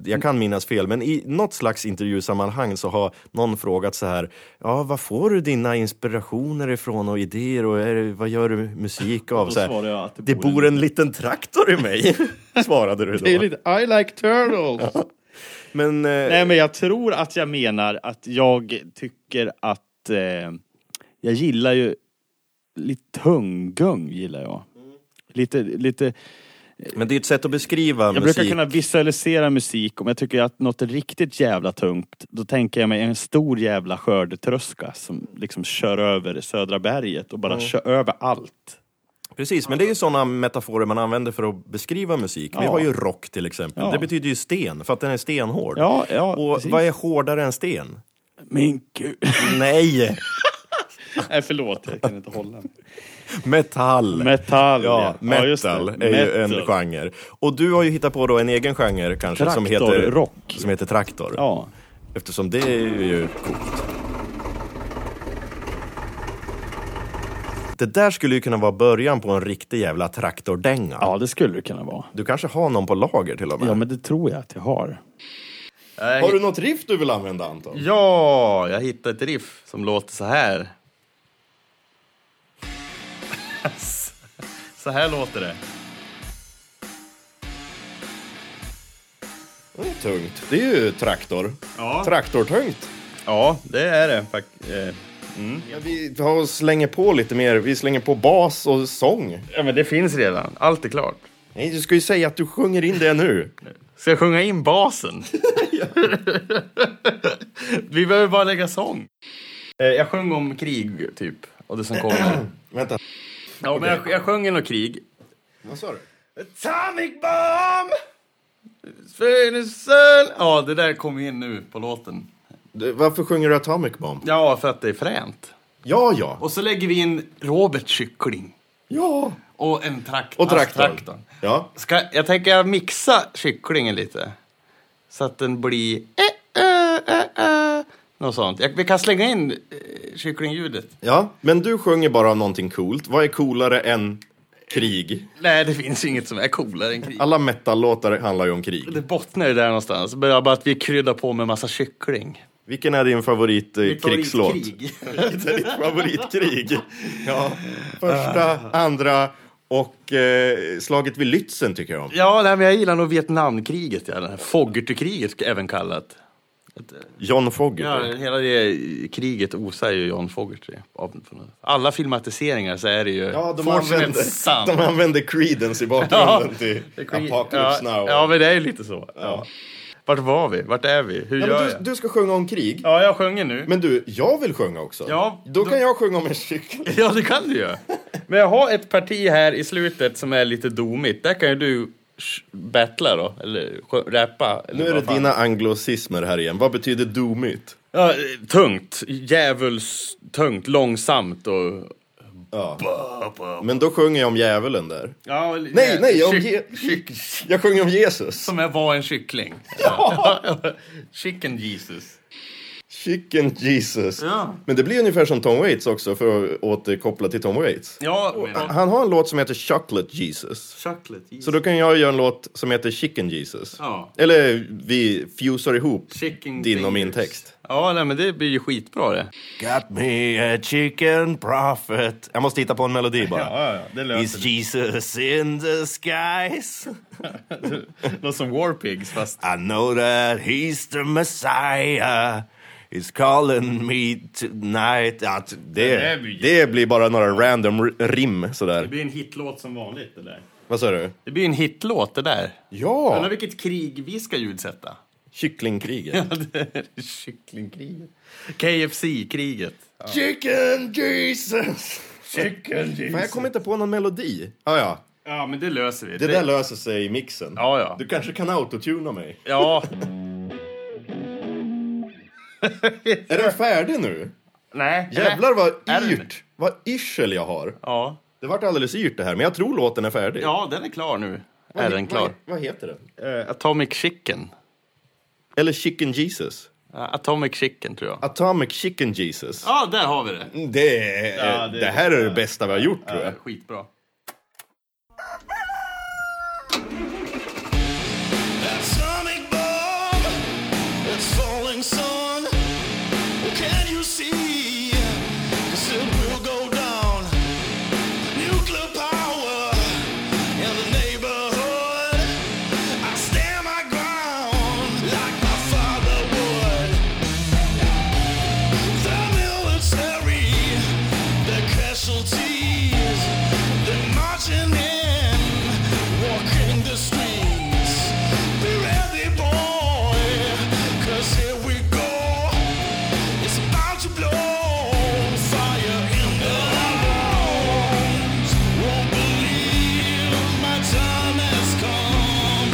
Speaker 1: jag kan minnas fel, men i något slags intervjusammanhang så har någon frågat så här. Ja, vad får du dina inspirationer ifrån och idéer och är, det- vad gör du musik av?
Speaker 2: Då
Speaker 1: Så här,
Speaker 2: svarade jag att det
Speaker 1: det
Speaker 2: bor en-
Speaker 1: bor en liten traktor i mig, svarade du
Speaker 2: Det är
Speaker 1: då.
Speaker 2: lite I like turtles.
Speaker 1: Men, eh,
Speaker 2: Nej men jag tror att jag menar att jag tycker att eh, jag gillar ju lite tunggung gillar jag. Lite, lite
Speaker 1: men det är ett sätt att beskriva
Speaker 2: Jag
Speaker 1: musik.
Speaker 2: brukar kunna visualisera musik om jag tycker att något är riktigt jävla tungt. Då tänker jag mig en stor jävla skördetröska som liksom kör över södra berget och bara kör över allt.
Speaker 1: Precis, men det är ju sådana metaforer man använder för att beskriva musik. Vi
Speaker 2: Ja.
Speaker 1: har ju rock till exempel.
Speaker 2: Ja.
Speaker 1: Det betyder ju sten, för att den är stenhård.
Speaker 2: Ja, ja,
Speaker 1: Och
Speaker 2: precis.
Speaker 1: vad är hårdare än sten?
Speaker 2: Min gud.
Speaker 1: Nej!
Speaker 2: Nej förlåt, jag kan inte hålla mig.
Speaker 1: Metall!
Speaker 2: Metall,
Speaker 1: Ja,
Speaker 2: just det.
Speaker 1: metal är ju en
Speaker 2: Metal.
Speaker 1: genre. Och du har ju hittat på då en egen genre kanske som heter
Speaker 2: Traktorrock.
Speaker 1: Som heter traktor.
Speaker 2: Ja.
Speaker 1: Eftersom det är ju coolt. Det där skulle ju kunna vara början på en riktig jävla traktordänga.
Speaker 2: ja, det skulle det kunna vara.
Speaker 1: Du kanske har någon på lager till och med?
Speaker 2: Ja men det tror jag att jag har.
Speaker 1: Har du något riff du vill använda
Speaker 5: Mm.
Speaker 1: Anton?
Speaker 5: Ja, jag hittade ett riff som låter så här. så här låter det.
Speaker 1: Det är tungt. Det är ju traktor.
Speaker 5: Ja.
Speaker 1: Traktortungt.
Speaker 5: Ja, det är det. fak- eh,
Speaker 1: Ja, vi har- slänger på lite mer. Vi slänger på bas och sång.
Speaker 5: Ja, men det finns redan. Allt är klart.
Speaker 1: Nej, du ska ju säga att du sjunger in det nu.
Speaker 5: Ska jag sjunga in basen? Vi behöver bara lägga sång. Eh, Jag sjöng om krig, typ. Och det som kommer.
Speaker 1: Vänta.
Speaker 5: Ja, men jag, jag sjöng om krig.
Speaker 1: Vad sa du?
Speaker 5: Atomic bomb! Födelsen! Ja, det där kom in nu på låten.
Speaker 1: Du, Varför sjunger du Atomic Bomb?
Speaker 5: Ja, för att det är fränt.
Speaker 1: Ja, ja.
Speaker 5: Och så lägger vi in Robert Kyckling.
Speaker 1: Ja.
Speaker 5: Och en traktor.
Speaker 1: Och traktorn. Ja.
Speaker 5: Ska, jag tänker jag mixa kycklingen lite. Så att den blir... Äh, äh, äh, äh, något sånt. Jag, vi kan slänga in eh, kycklingljudet.
Speaker 1: ja. Men du sjunger bara om någonting coolt. Vad är coolare än krig?
Speaker 5: Nej, det finns ju inget som är coolare än krig.
Speaker 1: Alla metal-låtar handlar ju om
Speaker 5: Det
Speaker 1: krig.
Speaker 5: bottnar ju där någonstans. Det är bara att vi kryddar på med massa kyckling.
Speaker 1: Vilken är din
Speaker 5: Mitt
Speaker 1: favoritkrigslåt?
Speaker 5: favoritkrig.
Speaker 1: Det är ditt favoritkrig. Ja. Första, andra och eh, slaget vid Lützen tycker jag om.
Speaker 5: Ja, nej, men jag gillar nog Vietnamkriget. Ja, det här Fogerty-kriget även kallat.
Speaker 1: John Fogerty.
Speaker 5: Ja, hela det kriget osar ju John Fogerty. av- från- Alla filmatiseringar så är det ju...
Speaker 1: Ja, de
Speaker 5: Fortune
Speaker 1: använder,
Speaker 5: and Son.
Speaker 1: de använder Creedence i bakgrunden till
Speaker 5: Det är krig-
Speaker 1: Apocalypse
Speaker 5: ja,
Speaker 1: Now.
Speaker 5: Ja, men det är ju lite så.
Speaker 1: Ja.
Speaker 5: Vart var vi? Vart är vi? Hur
Speaker 1: Ja,
Speaker 5: gör
Speaker 1: men
Speaker 5: jag?
Speaker 1: du, du ska sjunga om krig.
Speaker 5: Ja, jag sjunger nu.
Speaker 1: Men du, jag vill sjunga också.
Speaker 5: Ja,
Speaker 1: då,
Speaker 5: då-
Speaker 1: kan jag sjunga om en cykel.
Speaker 5: Ja, det kan du ju. Men jag har ett parti här i slutet som är lite domigt. Där kan ju du sh- battla då, eller sjö- rappa. Eller
Speaker 1: Nu är det
Speaker 5: vad fan.
Speaker 1: dina anglosismer här igen. Vad betyder domigt?
Speaker 5: Ja, eh, tungt. Djävulstungt. Långsamt och...
Speaker 1: Men då sjunger jag om djävulen där.
Speaker 5: Ja, eller-
Speaker 1: Nej, nej, jag,
Speaker 5: kyck-
Speaker 1: Je-
Speaker 5: kyck-
Speaker 1: jag sjunger om Jesus.
Speaker 5: Som jag var en kyckling. Ja. Chicken Jesus.
Speaker 1: Chicken Jesus.
Speaker 5: Ja.
Speaker 1: Men det blir ungefär som Tom Waits också, för att återkoppla till Tom Waits.
Speaker 5: Ja,
Speaker 1: Han har en låt som heter Chocolate Jesus.
Speaker 5: Chocolate Jesus.
Speaker 1: Så då kan jag göra en låt som heter Chicken Jesus.
Speaker 5: Ja.
Speaker 1: Eller vi fusar ihop
Speaker 5: Chicken
Speaker 1: din och min
Speaker 5: fingers.
Speaker 1: text.
Speaker 5: Ja, nej, men det blir ju skitbra det.
Speaker 1: Got me a chicken prophet. Jag måste hitta på en melodi bara.
Speaker 5: ja, det
Speaker 1: Is Jesus in the skies?
Speaker 5: Något som War Pigs fast...
Speaker 1: I know that he's the Messiah. He's calling me tonight. Ja, t- det,
Speaker 5: blir-
Speaker 1: det blir bara några random r- rim sådär.
Speaker 5: blir en hitlåt som vanligt det där.
Speaker 1: Vad sa du?
Speaker 5: Det blir ju en hitlåt det där. Undrar
Speaker 1: Ja!
Speaker 5: vilket krig vi ska ljudsätta.
Speaker 1: Kycklingkriget.
Speaker 5: Kycklingkriget. KFC-kriget.
Speaker 1: Chicken Jesus!
Speaker 5: Chicken
Speaker 1: Fan, jag kommer inte på någon melodi. Ah, ja,
Speaker 5: Ja, men det löser vi.
Speaker 1: det, där löser sig i mixen.
Speaker 5: Ja, ja.
Speaker 1: Du kanske kan autotuna mig.
Speaker 5: Ja,
Speaker 1: Är den färdig nu?
Speaker 5: nej.
Speaker 1: Jävlar vad
Speaker 5: Är den?
Speaker 1: yrt! Vad yrsel jag har.
Speaker 5: Ja.
Speaker 1: Det vart alldeles yrt det här, men jag tror låten är färdig.
Speaker 5: ja, den är klar nu.
Speaker 1: Vad-
Speaker 5: är den klar?
Speaker 1: Vad, vad heter den?
Speaker 5: Eh, Atomic Chicken.
Speaker 1: Eller Chicken Jesus.
Speaker 5: Ja, Atomic Chicken, tror jag.
Speaker 1: Atomic Chicken Jesus.
Speaker 5: Ja, där har vi det.
Speaker 1: Det, är,
Speaker 5: Ja, det-
Speaker 1: det här är det bästa vi har gjort tror jag.
Speaker 5: Skitbra.
Speaker 6: Atomic bomb that's falling, sun. Can you see? 'Cause it will go down. Nuclear power in the neighborhood. I stand my ground like my father would. The military, the casualties, they're marching in, walking the streets. Be ready, boy, 'cause here we go. It's about to blow. Fire in the lungs. Won't believe my time has come.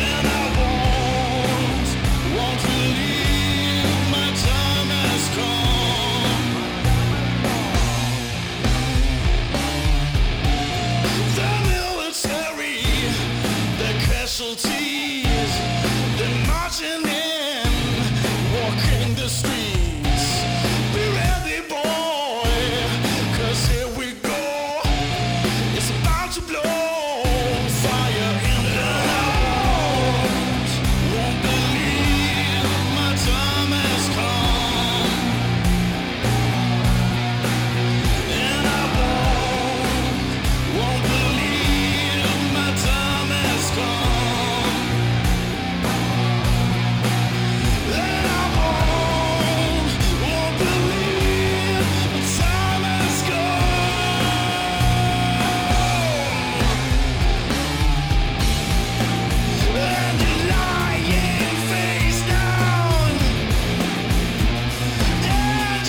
Speaker 6: And I won't, won't believe my time has come. The military, the casualties, they're marching in, walking the streets. Be ready, boy, 'cause here we go. It's about to blow. Fire in the lungs. Won't believe my time has come. And I won't won't believe my time has come. And I won't, won't believe my time has come. And you're lying face down, and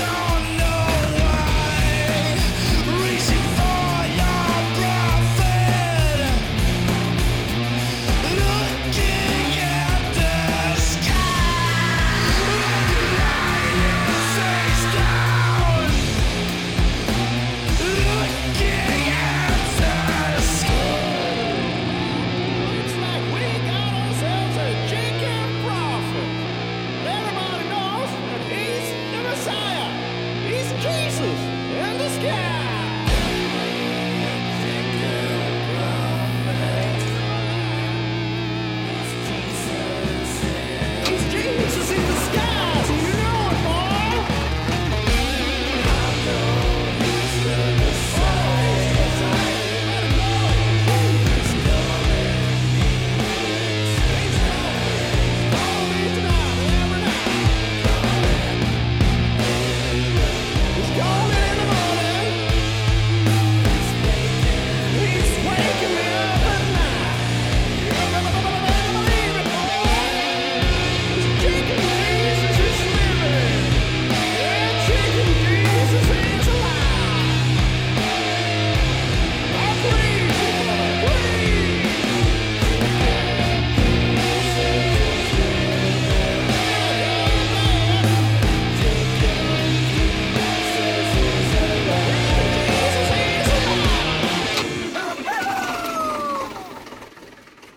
Speaker 6: don't know why. Reaching for your profit. Looking at the sky. Lying face down. Looking at the sky. Looks like we got ourselves a chicken prophet. Everybody knows that he's the Messiah. He's Jesus in the sky. He's Jesus in the sky, so you know it, boy.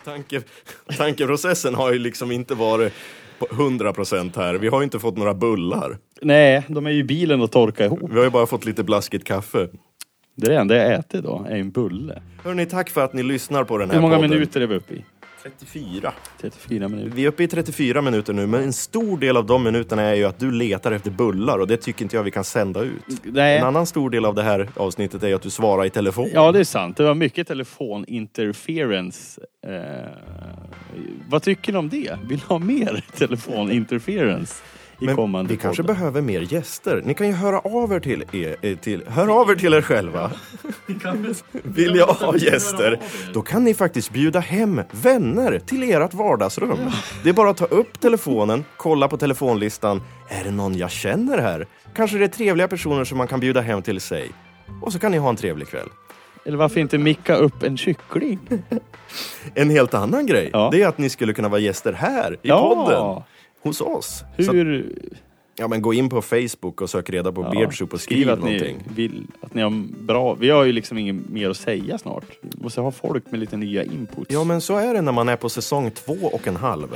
Speaker 1: Tanke, tankeprocessen har ju liksom inte varit på 100% här. Vi har ju inte fått några bullar.
Speaker 2: Nej, de är ju i bilen och torkar ihop.
Speaker 1: Vi har ju bara fått lite blaskigt kaffe.
Speaker 2: Det är det enda jag äter idag, är en bulle.
Speaker 1: Hörni, tack för att ni lyssnar på den här
Speaker 2: Hur många
Speaker 1: podden.
Speaker 2: minuter är vi uppe i?
Speaker 1: 34.
Speaker 2: 34 minuter.
Speaker 1: Vi är uppe i 34 minuter nu, men en stor del av de minuterna är ju att du letar efter bullar och det tycker inte jag vi kan sända ut.
Speaker 2: Nej.
Speaker 1: En annan stor del av det här avsnittet är ju att du svarar i telefon.
Speaker 2: Ja, det är sant. Det var mycket telefoninterference. Eh, vad tycker ni om det? Vill ni ha mer telefoninterference i
Speaker 1: Men
Speaker 2: kommande
Speaker 1: vi kanske
Speaker 2: poddar.
Speaker 1: behöver mer gäster. Ni kan ju höra av er till er, eh, till, hör av er, till er själva. Vill jag ha gäster? Då kan ni faktiskt bjuda hem vänner till ert vardagsrum. Det är bara att ta upp telefonen, kolla på telefonlistan. Är det någon jag känner här? Kanske det är trevliga personer som man kan bjuda hem till sig. Och så kan ni ha en trevlig kväll.
Speaker 2: Eller varför inte micka upp en kyckling?
Speaker 1: En helt annan grej,
Speaker 2: Ja.
Speaker 1: det är att ni skulle kunna vara gäster här i podden. Hos oss. Så att,
Speaker 2: Hur...
Speaker 1: ja, men gå in på Facebook och sök reda på
Speaker 2: Ja.
Speaker 1: Beardsoup och skriv,
Speaker 2: Skriv att
Speaker 1: någonting.
Speaker 2: ni vill att ni har bra... Vi har ju liksom inget mer att säga snart. Vi måste ha folk med lite nya inputs.
Speaker 1: Ja, men så är det när man är på säsong två och en halv.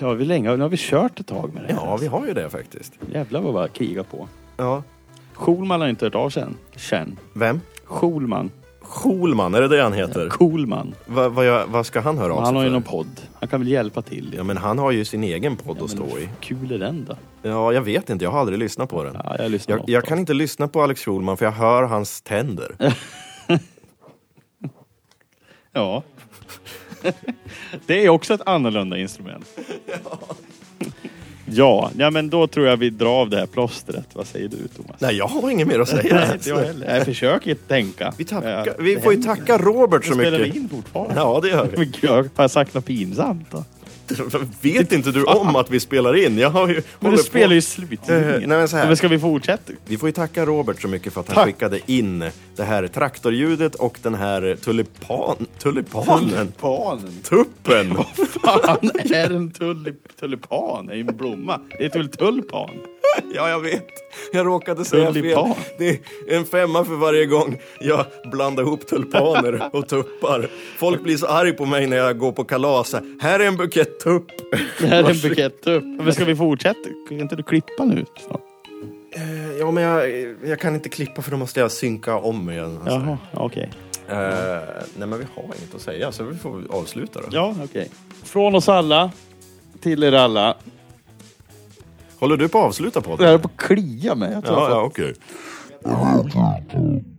Speaker 2: ja vi länge, nu har vi kört ett tag med det här.
Speaker 1: Ja, vi har ju det faktiskt.
Speaker 2: Jävlar vad vi har krigat på.
Speaker 1: Ja.
Speaker 2: Schulman har inte hört av sig än. Känn.
Speaker 1: Vem?
Speaker 2: Schulman.
Speaker 1: Schulman, är det det han heter?
Speaker 2: Coolman.
Speaker 1: Va, vad jag- vad ska han höra av sig
Speaker 2: Han har ju
Speaker 1: för?
Speaker 2: någon podd. Han kan väl hjälpa till.
Speaker 1: Ja, men han har ju sin egen podd att stå i.
Speaker 2: Kul är den då.
Speaker 1: Ja, jag vet inte. Jag har aldrig lyssnat på den.
Speaker 2: Ja, jag lyssnar
Speaker 1: jag, jag kan inte lyssna på Alex Schulman för jag hör hans tänder.
Speaker 2: Ja. det är också ett annorlunda instrument. ja. ja, men då tror jag vi drar av det här plåstret. Vad säger du Thomas?
Speaker 1: Nej, jag har inget mer att säga.
Speaker 2: Inte jag heller. Jag försöker tänka.
Speaker 1: Vi,
Speaker 2: Ja,
Speaker 1: tackar, vi får ju tacka Robert så
Speaker 2: Spelar vi
Speaker 1: mycket.
Speaker 2: in fortfarande?
Speaker 1: Ja, det gör vi.
Speaker 2: Men gud, har jag sagt något pinsamt då?
Speaker 1: Vet inte du om att vi spelar in? Jag har ju...
Speaker 2: Men
Speaker 1: håller
Speaker 2: du
Speaker 1: på-
Speaker 2: spelar ju
Speaker 1: Eh,
Speaker 2: slutningen.
Speaker 1: nej, men så här.
Speaker 2: ska vi fortsätta?
Speaker 1: Vi får ju tacka Robert så mycket för att han
Speaker 2: Tack.
Speaker 1: skickade in det här traktorljudet och den här tulipan, tulipanen,
Speaker 2: Tulpanen.
Speaker 1: tuppen.
Speaker 2: Fan, är en tulip, tulipan? Det är ju en blomma. Det heter väl tulpan?
Speaker 1: Ja, jag vet. Jag råkade säga
Speaker 2: Tulipan.
Speaker 1: fel. Det är en femma för varje gång jag blandar ihop tulpaner och tuppar. Folk blir så arg på mig när jag går på kalas. Här är en bukett tupp.
Speaker 2: Det här är en bukett tupp. Men ska vi fortsätta? Kan inte du klippa nu snart?
Speaker 1: Ja, men jag, jag kan inte klippa för då måste jag synka om igen.
Speaker 2: Jaha, okej.
Speaker 1: Eh, nej, men vi har inget att säga så vi får avsluta då.
Speaker 2: Ja, okej. Från oss alla till er alla.
Speaker 1: Håller du på att avsluta podden?
Speaker 2: Jag höll på att klia mig. Jag tror jag
Speaker 1: Ja,
Speaker 2: har
Speaker 1: ja
Speaker 2: fått-
Speaker 1: okej.